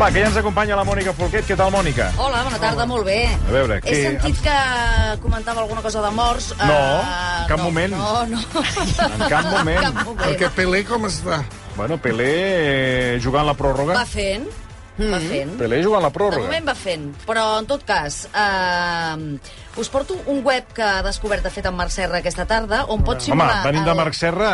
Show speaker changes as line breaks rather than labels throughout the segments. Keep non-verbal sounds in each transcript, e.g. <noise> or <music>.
Va, que ja ens acompanya la Mònica Folquet. Què tal, Mònica?
Hola, bona tarda, molt bé.
A veure,
He
què-
sentit que comentava alguna cosa de morts.
No,
eh,
cap
no,
moment.
No, no.
<laughs> En cap moment.
Cap moment.
Perquè Pelé com està?
Bueno, Pelé eh, jugant la pròrroga.
Va fent, va fent.
Pelé jugant la
De
Mm-hmm. pròrroga.
moment va fent, però en tot cas, eh, us porto un web que ha descobert, de fet, en Marc Serra aquesta tarda, on pot
Home,
simular...
venint de
el-
Marc Serra,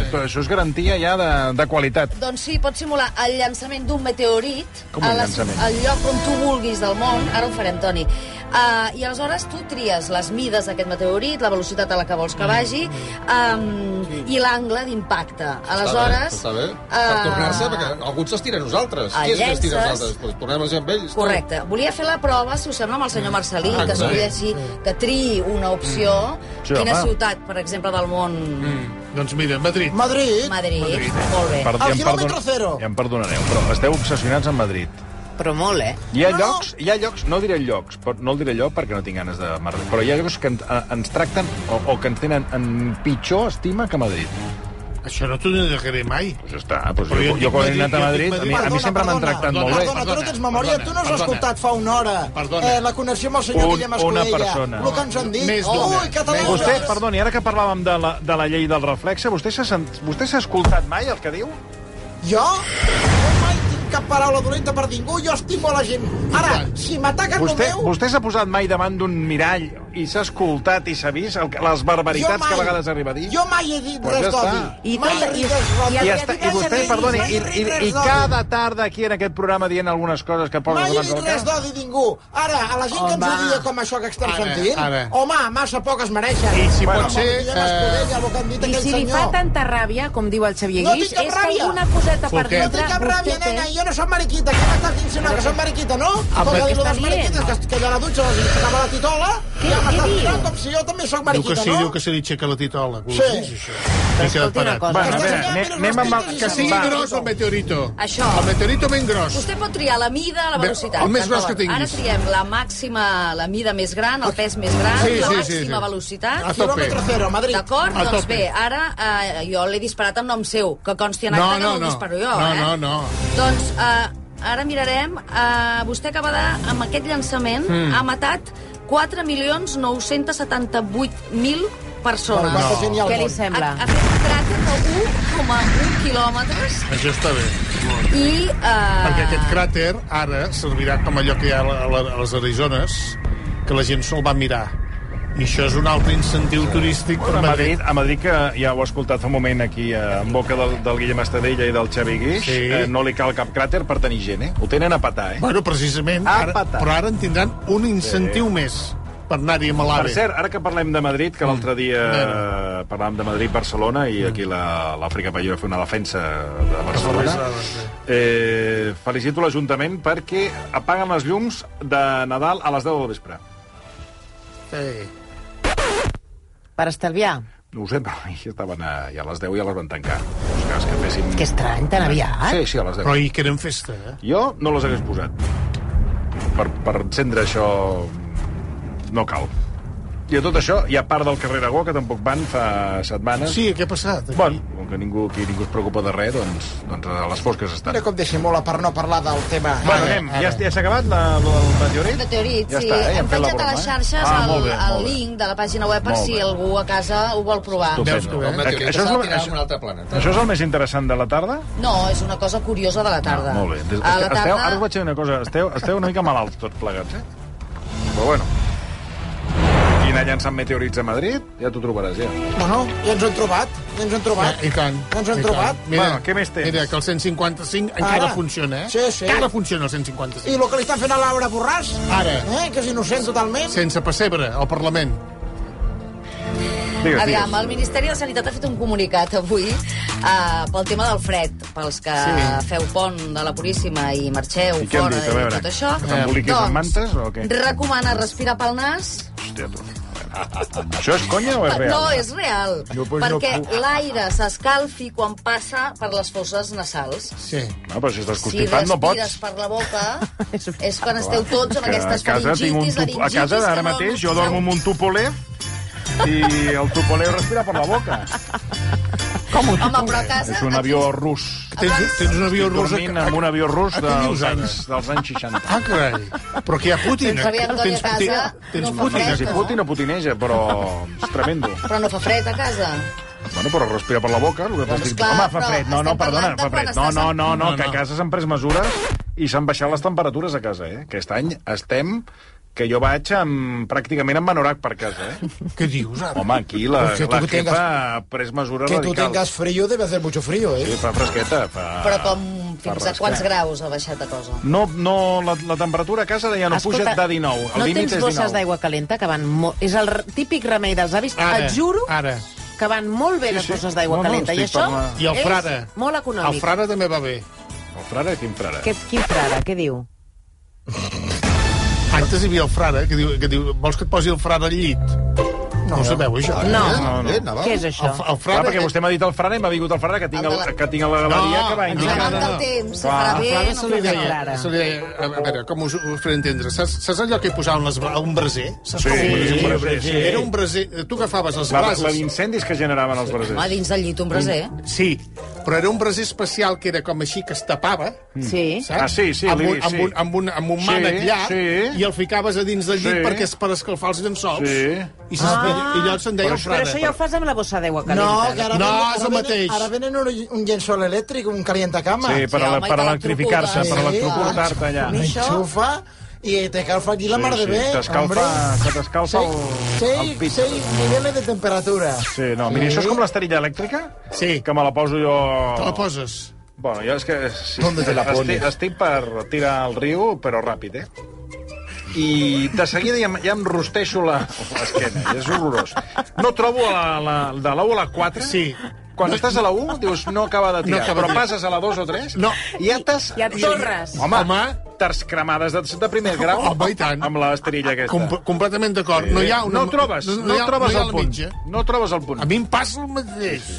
eh, però això és garantia ja de, de qualitat.
Doncs sí, pot simular el llançament d'un meteorit
Com
a
un
la-
llançament?
al lloc on tu vulguis del món. Ara ho farem, Toni. Uh, I aleshores tu tries les mides d'aquest meteorit, la velocitat a la que vols que vagi um, i l'angle d'impacte. Aleshores...
Està bé, està bé. Per
eh,
tornar-se, perquè algú s'estira a nosalles.
a
Qui és que estira a
llences.
nosaltres? Pues tornem-nos amb ells. tu.
Correcte. Volia fer la prova, si us sembla, amb el senyor Marcelí,
Ah,
que s'ho
correcte.
així, que triï una opció.
Sí,
Quina
home.
ciutat, per exemple, del món...
Doncs mira, Madrid.
Madrid.
Madrid. Molt bé.
Al quilòmetre zero.
ja em perdonareu, però esteu obsessionats amb Madrid.
Però molt, eh?
Hi ha,
No, no.
llocs, hi ha llocs, no diré llocs, però no el diré lloc perquè no tinc ganes de Madrid, però hi ha llocs que en, a, ens tracten o, o que ens tenen en pitjor estima que Madrid.
Això no t'ho negaré mai.
Doncs està, doncs
Però
jo,
jo
jo,
dic
quan he
Madrid,
anat a
jo dic
Madrid, a mi, a mi
Perdona,
sempre m'han
perdona.
tractat molt
Perdona,
bé.
Perdona, tu no tens
Perdona,
memòria,
perdona,
tu no has
perdona.
escoltat fa una hora
Perdona.
Eh, la connexió amb el senyor
Un-
Guillem
una
Escudella.
persona.
El que ens han dit.
Més d'una.
Ui, català,
Més
Vostè, perdoni, ara que parlàvem de la, de la llei del reflexe, vostè s'ha sent- vostè s'ha escoltat mai el que diu?
Jo? Jo mai tinc cap paraula dolenta per ningú, jo estimo a la gent. Ara, si m'ataquen el
Vostè,
meu...
vostè s'ha posat mai davant d'un mirall i s'ha escoltat i s'ha vist el, que- les barbaritats que a vegades arriba a dir?
Jo mai he dit
Pues ja
res
està.
d'odi.
I
Mai
tant,
he
i-
dit res d'odi.
I, està, I vostè, perdoni, i, i, i cada tarda aquí en aquest programa dient algunes coses que posen
Mai he
davant
dit
del
res
cap...
d'odi a ningú. Ara, a la gent que ens
Home.
odia com això que estem
Ara,
sentint,
ara.
home, massa poc es mereixen.
I si
Home,
pot ser,
Guillem
eh,
Escudella, el que han dit
I
aquell
si li fa
senyor.
tanta ràbia, com diu el Xavier
No
Guix,
tinc cap
és
ràbia.
que alguna coseta per
Folquet.
No
dintre
tinc cap ràbia,
vostè
nena,
té.
jo no soc mariquita. Què m'estàs insinuant, que soc mariquita, no? Com
Ah, però
que
què
diu
està
les mariquites,
dient?
que, que jo a la dutxa els ficava la titola,
Què-
eh?" ja
què
m'estàs
diu?
mirant com si jo també soc
Diu
mariquita,
que sí,
no?
diu que se li aixeca la titola.
Sí.
Sí. Això. Que s'ha
Escolti una
parat.
cosa.
Bueno, a
Estàs
veure,
mirant
anem,
els
anem amb...
rastres
Que
Que sigui
Va.
gros el meteorito.
Això.
El meteorito ben gros.
Vostè pot triar la mida, la
Bé,
velocitat.
el més gros
d'acord.
que tinguis.
Ara triem la màxima, la mida més gran, el pes més gran,
Sí,
la
sí, sí,
màxima
sí.
velocitat.
A tope.
Quilòmetre zero, Madrid.
D'acord?
A
Doncs
tope.
bé, ara eh, jo l'he disparat amb nom seu, que consti en
No,
acte
no,
que no,
no.
el disparo jo,
No,
eh?
no, no.
Doncs eh, ara mirarem. Eh, vostè acaba de, amb aquest llançament,
Hmm.
ha matat 4.978.000 persones.
Va, va ser genial,
Què li
món.
sembla?
Ha, ha fet un cràter de 1,1 quilòmetres
Això està bé.
i... Eh,
Perquè aquest cràter ara servirà com allò que hi ha a, la, a, la, a les Arizones, que la gent se'l va mirar. I això és un altre incentiu turístic per
A Madrid,
Madrid.
a Madrid, que ja ho he escoltat fa un moment aquí eh, en boca del, del Guillem Estadella i del Xavi Guix,
Sí.
eh, no li cal cap cràter per tenir gent, eh? Ho tenen a patar, eh?
Bueno, precisament, ara,
Apata.
però ara en tindran un incentiu més per anar-hi amb
Per
l'AVE.
cert, ara que parlem de Madrid, que l'altre dia eh, parlàvem de Madrid-Barcelona i aquí la- l'Àfrica Palló va fer una defensa de Barcelona, eh, felicito l'Ajuntament perquè apaguen les llums de Nadal a les 10 del vespre.
Sí.
Per estalviar.
No ho sé, però <laughs> ja estaven eh, a, ja a les 10 ja les van tancar. Els cas que féssim...
Que estrany, tan aviat.
Sí, sí, a les 10.
Però hi queden festa, eh?
Jo no les hagués posat. Per, per encendre això no cal. I a tot això hi ha part del carrer Aragó que tampoc van fa setmanes.
Sí, què ha passat? aquí?
Bon, com que ningú, aquí ningú es preocupa de res, doncs, doncs a les fosques estan.
Mira com deixem mola per no parlar del tema. Eh,
Bueno, anem. Ja, ja s'ha acabat la, la, el meteorit?
Meteorit,
ja
sí.
Està, eh? Ja
Hem
hem fet la
penjat a
broma,
les
eh?
xarxes
ah,
el,
molt bé,
el
molt bé.
link de la pàgina web per
Molt
si
bé.
algú a casa ho vol provar.
Estupendo.
Veus que bé?
El meteorito
Això és
s'ha
la-
tirat a
això-
un altre
eh.
planeta.
Això és el més interessant de la tarda?
No, és una cosa curiosa de la tarda.
Ah, molt bé. Des,
A la
esteu,
tarda...
ara us vaig dir una cosa. Esteu, esteu una mica malalts tots plegats, eh? Però bueno. Qui anar llançant meteorits a Madrid, ja t'ho trobaràs, ja.
Bueno, ja ens ho hem trobat, ja ens ho hem trobat.
Ah, I tant.
Ja ens ho hem
i
trobat.
tant. Mira,
Bueno, què més tens?
Mira, que el 155 encara
Ara.
funciona, eh?
Sí, sí.
Encara funciona el
I
155.
el que li estan fent a Laura Borràs,
Ara.
eh, que és innocent totalment.
Sense pessebre, al Parlament.
Digues,
Aviam,
digues.
el Ministeri de Sanitat ha fet un comunicat avui eh, pel tema del fred, pels que
Sí.
feu pont de la Puríssima i marxeu
I què han
fora
dit? A
i
veure,
tot això. doncs,
que t'emboliquis amb mantes o què?
Recomana respirar pel nas,
Hòstia, tu. Això és conya o és real? doncs,
No, és real.
Jo, pues, no
perquè
puc.
l'aire s'escalfi quan passa per les fosses nasals.
Sí.
No, però si estàs
Si
constipat no pots.
respires per la boca, és quan esteu tots amb
Que
aquestes
a casa tinc un
faringitis,
tup... A
laringitis...
casa,
que
ara
no-
mateix, jo dormo amb un tupolé i el tupolé respira per la boca.
Home, però a casa...
És un avió rus.
Tens, tens un avió rus...
Dormint amb un avió rus
Ah, què dius,
dels
ara?
anys, dels anys 60.
Ah, carai. Però que hi ha Putin.
Tens aviam, dona, a casa,
tens
no fa
Putin.
fred.
Putineja, Putin o putineja, però és tremendo.
Però no fa fred a casa.
Bueno, però respira per la boca, el que t'has
Doncs
dit.
clar,
Home, fa
però
fred. No, no,
estem
perdona,
parlant de
fa
quan
fred. No,
estàs
no,
en-
no, no,
No,
que
no.
a casa s'han pres mesures i s'han baixat les temperatures a casa, eh? Aquest any estem que jo vaig amb, pràcticament amb anorac per casa,
<laughs>
eh?
Què dius, ara?
Home, aquí la,
Pues que tu
la
tengas-
jefa ha pres mesures
Que tú
radicals.
tengas frío debe hacer mucho frío,
Sí,
¿eh?
fa fresqueta, fa...
Però com,
fa
fins a
rasca.
quants graus ha baixat a cosa?
No, no, la, la temperatura a casa ja no puja de 19. El
no
límit
tens
és
bosses
19.
d'aigua calenta que van molt... És el r- típic remei dels avis.
Ara,
Et juro
ara.
que van molt bé
Ah, Sí,
les
sí.
bosses d'aigua
No, no,
calenta. I
estic
això
parlant-
I el
és
frare.
molt econòmic.
El frare també va bé.
El frare, quin frare?
Què, quin frare? Què diu?
Antes hi havia el frare, que diu, que diu vols que et posi el frare al llit? No, no ho sabeu, això?
No.
no, no. Eh, Naval?
Què és
El,
això?
f- el
Clar,
frare...
perquè vostè m'ha dit el frare i m'ha vingut el frare que tinc,
El
el,
de la-
que tinc a la galeria
No,
que va
ens
Ens
indicar...
demanda el
no.
temps, si
Clar.
farà bé,
Clar,
no
se li
farà
deia.
bé.
Clara.
Se li deia, a, a veure, com us, us faré entendre? Saps, saps allò que hi posaven les, bra- un braser? Saps
Sí,
com un braser?
un braser, sí.
Era un braser... Tu agafaves les
La, la
brases...
d'incendis que generaven els
Home,
brasers.
dins del llit un braser.
Mm.
Sí, però era un braser especial que era com així, que es tapava,
Sí.
saps?
Ah, sí, sí,
amb
l'he
un,
vist,
amb
sí.
un, amb un, amb un
Sí,
mànec llarg,
sí.
i el ficaves a dins del llit
Sí.
perquè és per escalfar els llençols.
Sí.
I, ah. i allò se'n deia el
Però
frare.
això ja ho fas amb la bossa d'aigua calenta.
No, que ahora
No,
viene-
es
ahora
lo
viene-
matéis.
Ahora vienen un, un llençol eléctrico, un cama.
Sí, per,
Sí,
a la,
home, i
per
te
electrificar-se,
l'entrocupa.
per
Sí,
electrocutar-te allà.
Me enchufa y te calfa aquí la
Sí,
mar de
sí,
bé,
t'escalfa-
hombre.
se t'escalfa
Seis-
el-
seis-
el pit.
seis niveles de temperatura.
Sí, no, mira, això és com l'esterilla elèctrica,
Sí.
que me la poso jo...
Te la poses.
Bueno, jo és que... Sí,
¿Dónde te la pones?
Estic, estic per tirar al riu, però ràpid, eh? I de seguida ja, em- ja em rosteixo la- l'esquena, i és horrorós. No trobo a la, la, de la 1 a la 4...
Sí.
Quan estàs a la 1, dius, no acaba de tirar,
No
no acaba
acaba
però
de tirar.
passes a la 2 o 3
No.
i ja t'has...
I et torres.
Home, Home.
Home.
t'has cremades de, de primer grau
Home, i tant.
amb l'esterilla aquesta.
Com, completament d'acord. No hi ha una...
no trobes, no,
hi ha-
trobes
no hi ha
el
la
punt.
mitja.
No trobes el punt.
A mi em passa el mateix.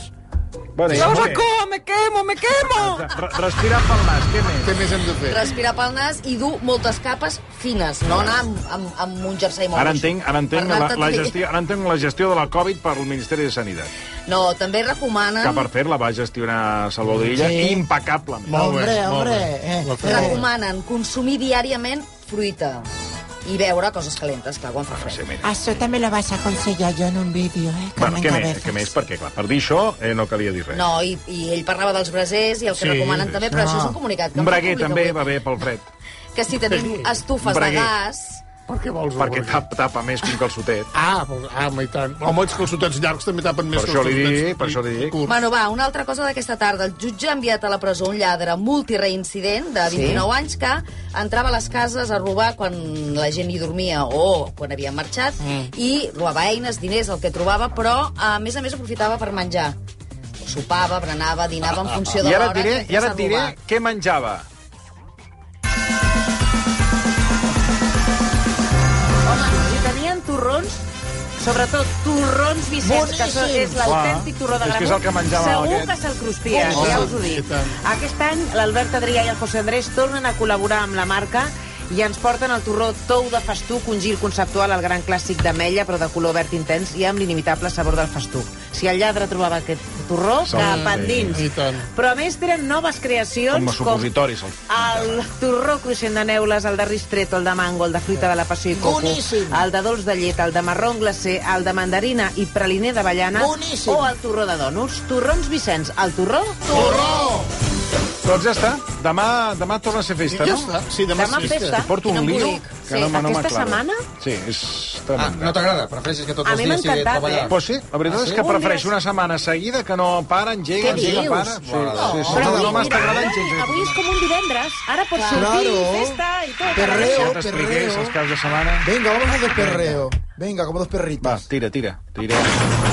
Bueno, ja, molt bé.
me quemo, me quemo!
Re- Respira pel nas, què més?
Què més hem de fer?
Respirar pel nas i dur moltes capes fines, no anar amb, amb, amb un jersei molt
Ara
gruix.
entenc, ara entenc,
Per
la,
anar-te'n
la,
bé.
gestió, ara entenc la gestió de la Covid pel Ministeri de Sanitat,
No, també recomanen...
que per fer-la va gestionar Salvador Illa
Sí.
impecablement.
Molt bé,
Hombre,
molt bé.
hombre, eh,
Ho ha fet molt bé.
recomanen consumir diàriament fruita i beure coses calentes, clar, quan fa
Sí,
fred.
mira.
Això també lo vas a aconsellar jo en un vídeo, eh?
Bueno, què més?
m'encabezas.
Què més? Perquè, clar, per dir això eh, no calia dir res.
No, i, i ell parlava dels brasers i el que
Sí,
recomanen
sí,
també, però això és un comunicat. que
Un
em va
braguer
publicar
també
avui.
va bé pel fred,
Que si tenim estufes
Un braguer.
de gas...
Per què vols?
perquè tap, tapa més que un calçotet.
Ah, vols- ah, home, i tant. Home, és que els sotets llargs també tapen més
Per
que
això
els
li
sotets
dic, per això li dic.
curts.
Bueno, va, una altra cosa d'aquesta tarda. El jutge ha enviat a la presó un lladre multireincident de 29 sí. anys que entrava a les cases a robar quan la gent hi dormia o quan havien marxat mm. i robava eines, diners, el que trobava, però a més a més aprofitava per menjar. Sopava, berenava, dinava en funció de
I ara
l'hora
et diré,
que
i ara
fes a
et diré
robar.
què menjava.
Home, si tenien turrons, sobretot turrons Vicenç, que això és l'autèntic turró de
és que és
Gramunt,
el que menjava
segur
aquest. Oh,
que se'l cruspia,
Home,
ja us ho
i
dic.
tant.
Aquest any l'Albert Adrià i el José Andrés tornen a col·laborar amb la marca i ens porten el torró tou de festuc, un gir conceptual al gran clàssic d'ametlla, però de color verd intens i amb l'inimitable sabor del festuc. Si el lladre trobava aquest torró,
Segur,
cap
sí.
endins.
I tant.
Però a més tenen noves creacions
Doncs
Com a supositoris, el-
el torró cruixent de neules, el de ristretto, el de mango, el de fruita de la passió i coco,
Boníssim.
el de dolç de llet, el de marrón glacé, el de mandarina i praliner d'avellana
Boníssim.
o el torró de dònuts. Torrons Vicenç, el torró...
Doncs ja està. Demà, demà torna a ser festa,
Ja
no?
està. Sí, demà,
Demà
sí.
festa.
Porto
Quin
un lío
embolic.
que
Sí,
no, me- no
aquesta
m'aclaro.
setmana?
Sí, és
Ah,
tremenda.
no t'agrada? Prefereixes que tots
A
els
mi
dies sigui
m'ha encantat,
treballar?
eh?
Pues sí, la veritat és que
Un
prefereix
dia-
una setmana seguida que no para, engega,
Què
engega,
dius?
para. Sí, sí, sí,
Però
no, no
avui-
m'està agradant gens.
avui, avui és com un divendres. Ara pots sortir,
Claro.
festa i tot.
Perreo,
Ja t'expliqués
perreo.
els caps de setmana.
Venga, vamos a hacer perreo. Venga, como dos
Va,
perritos.
tira, tira, tira.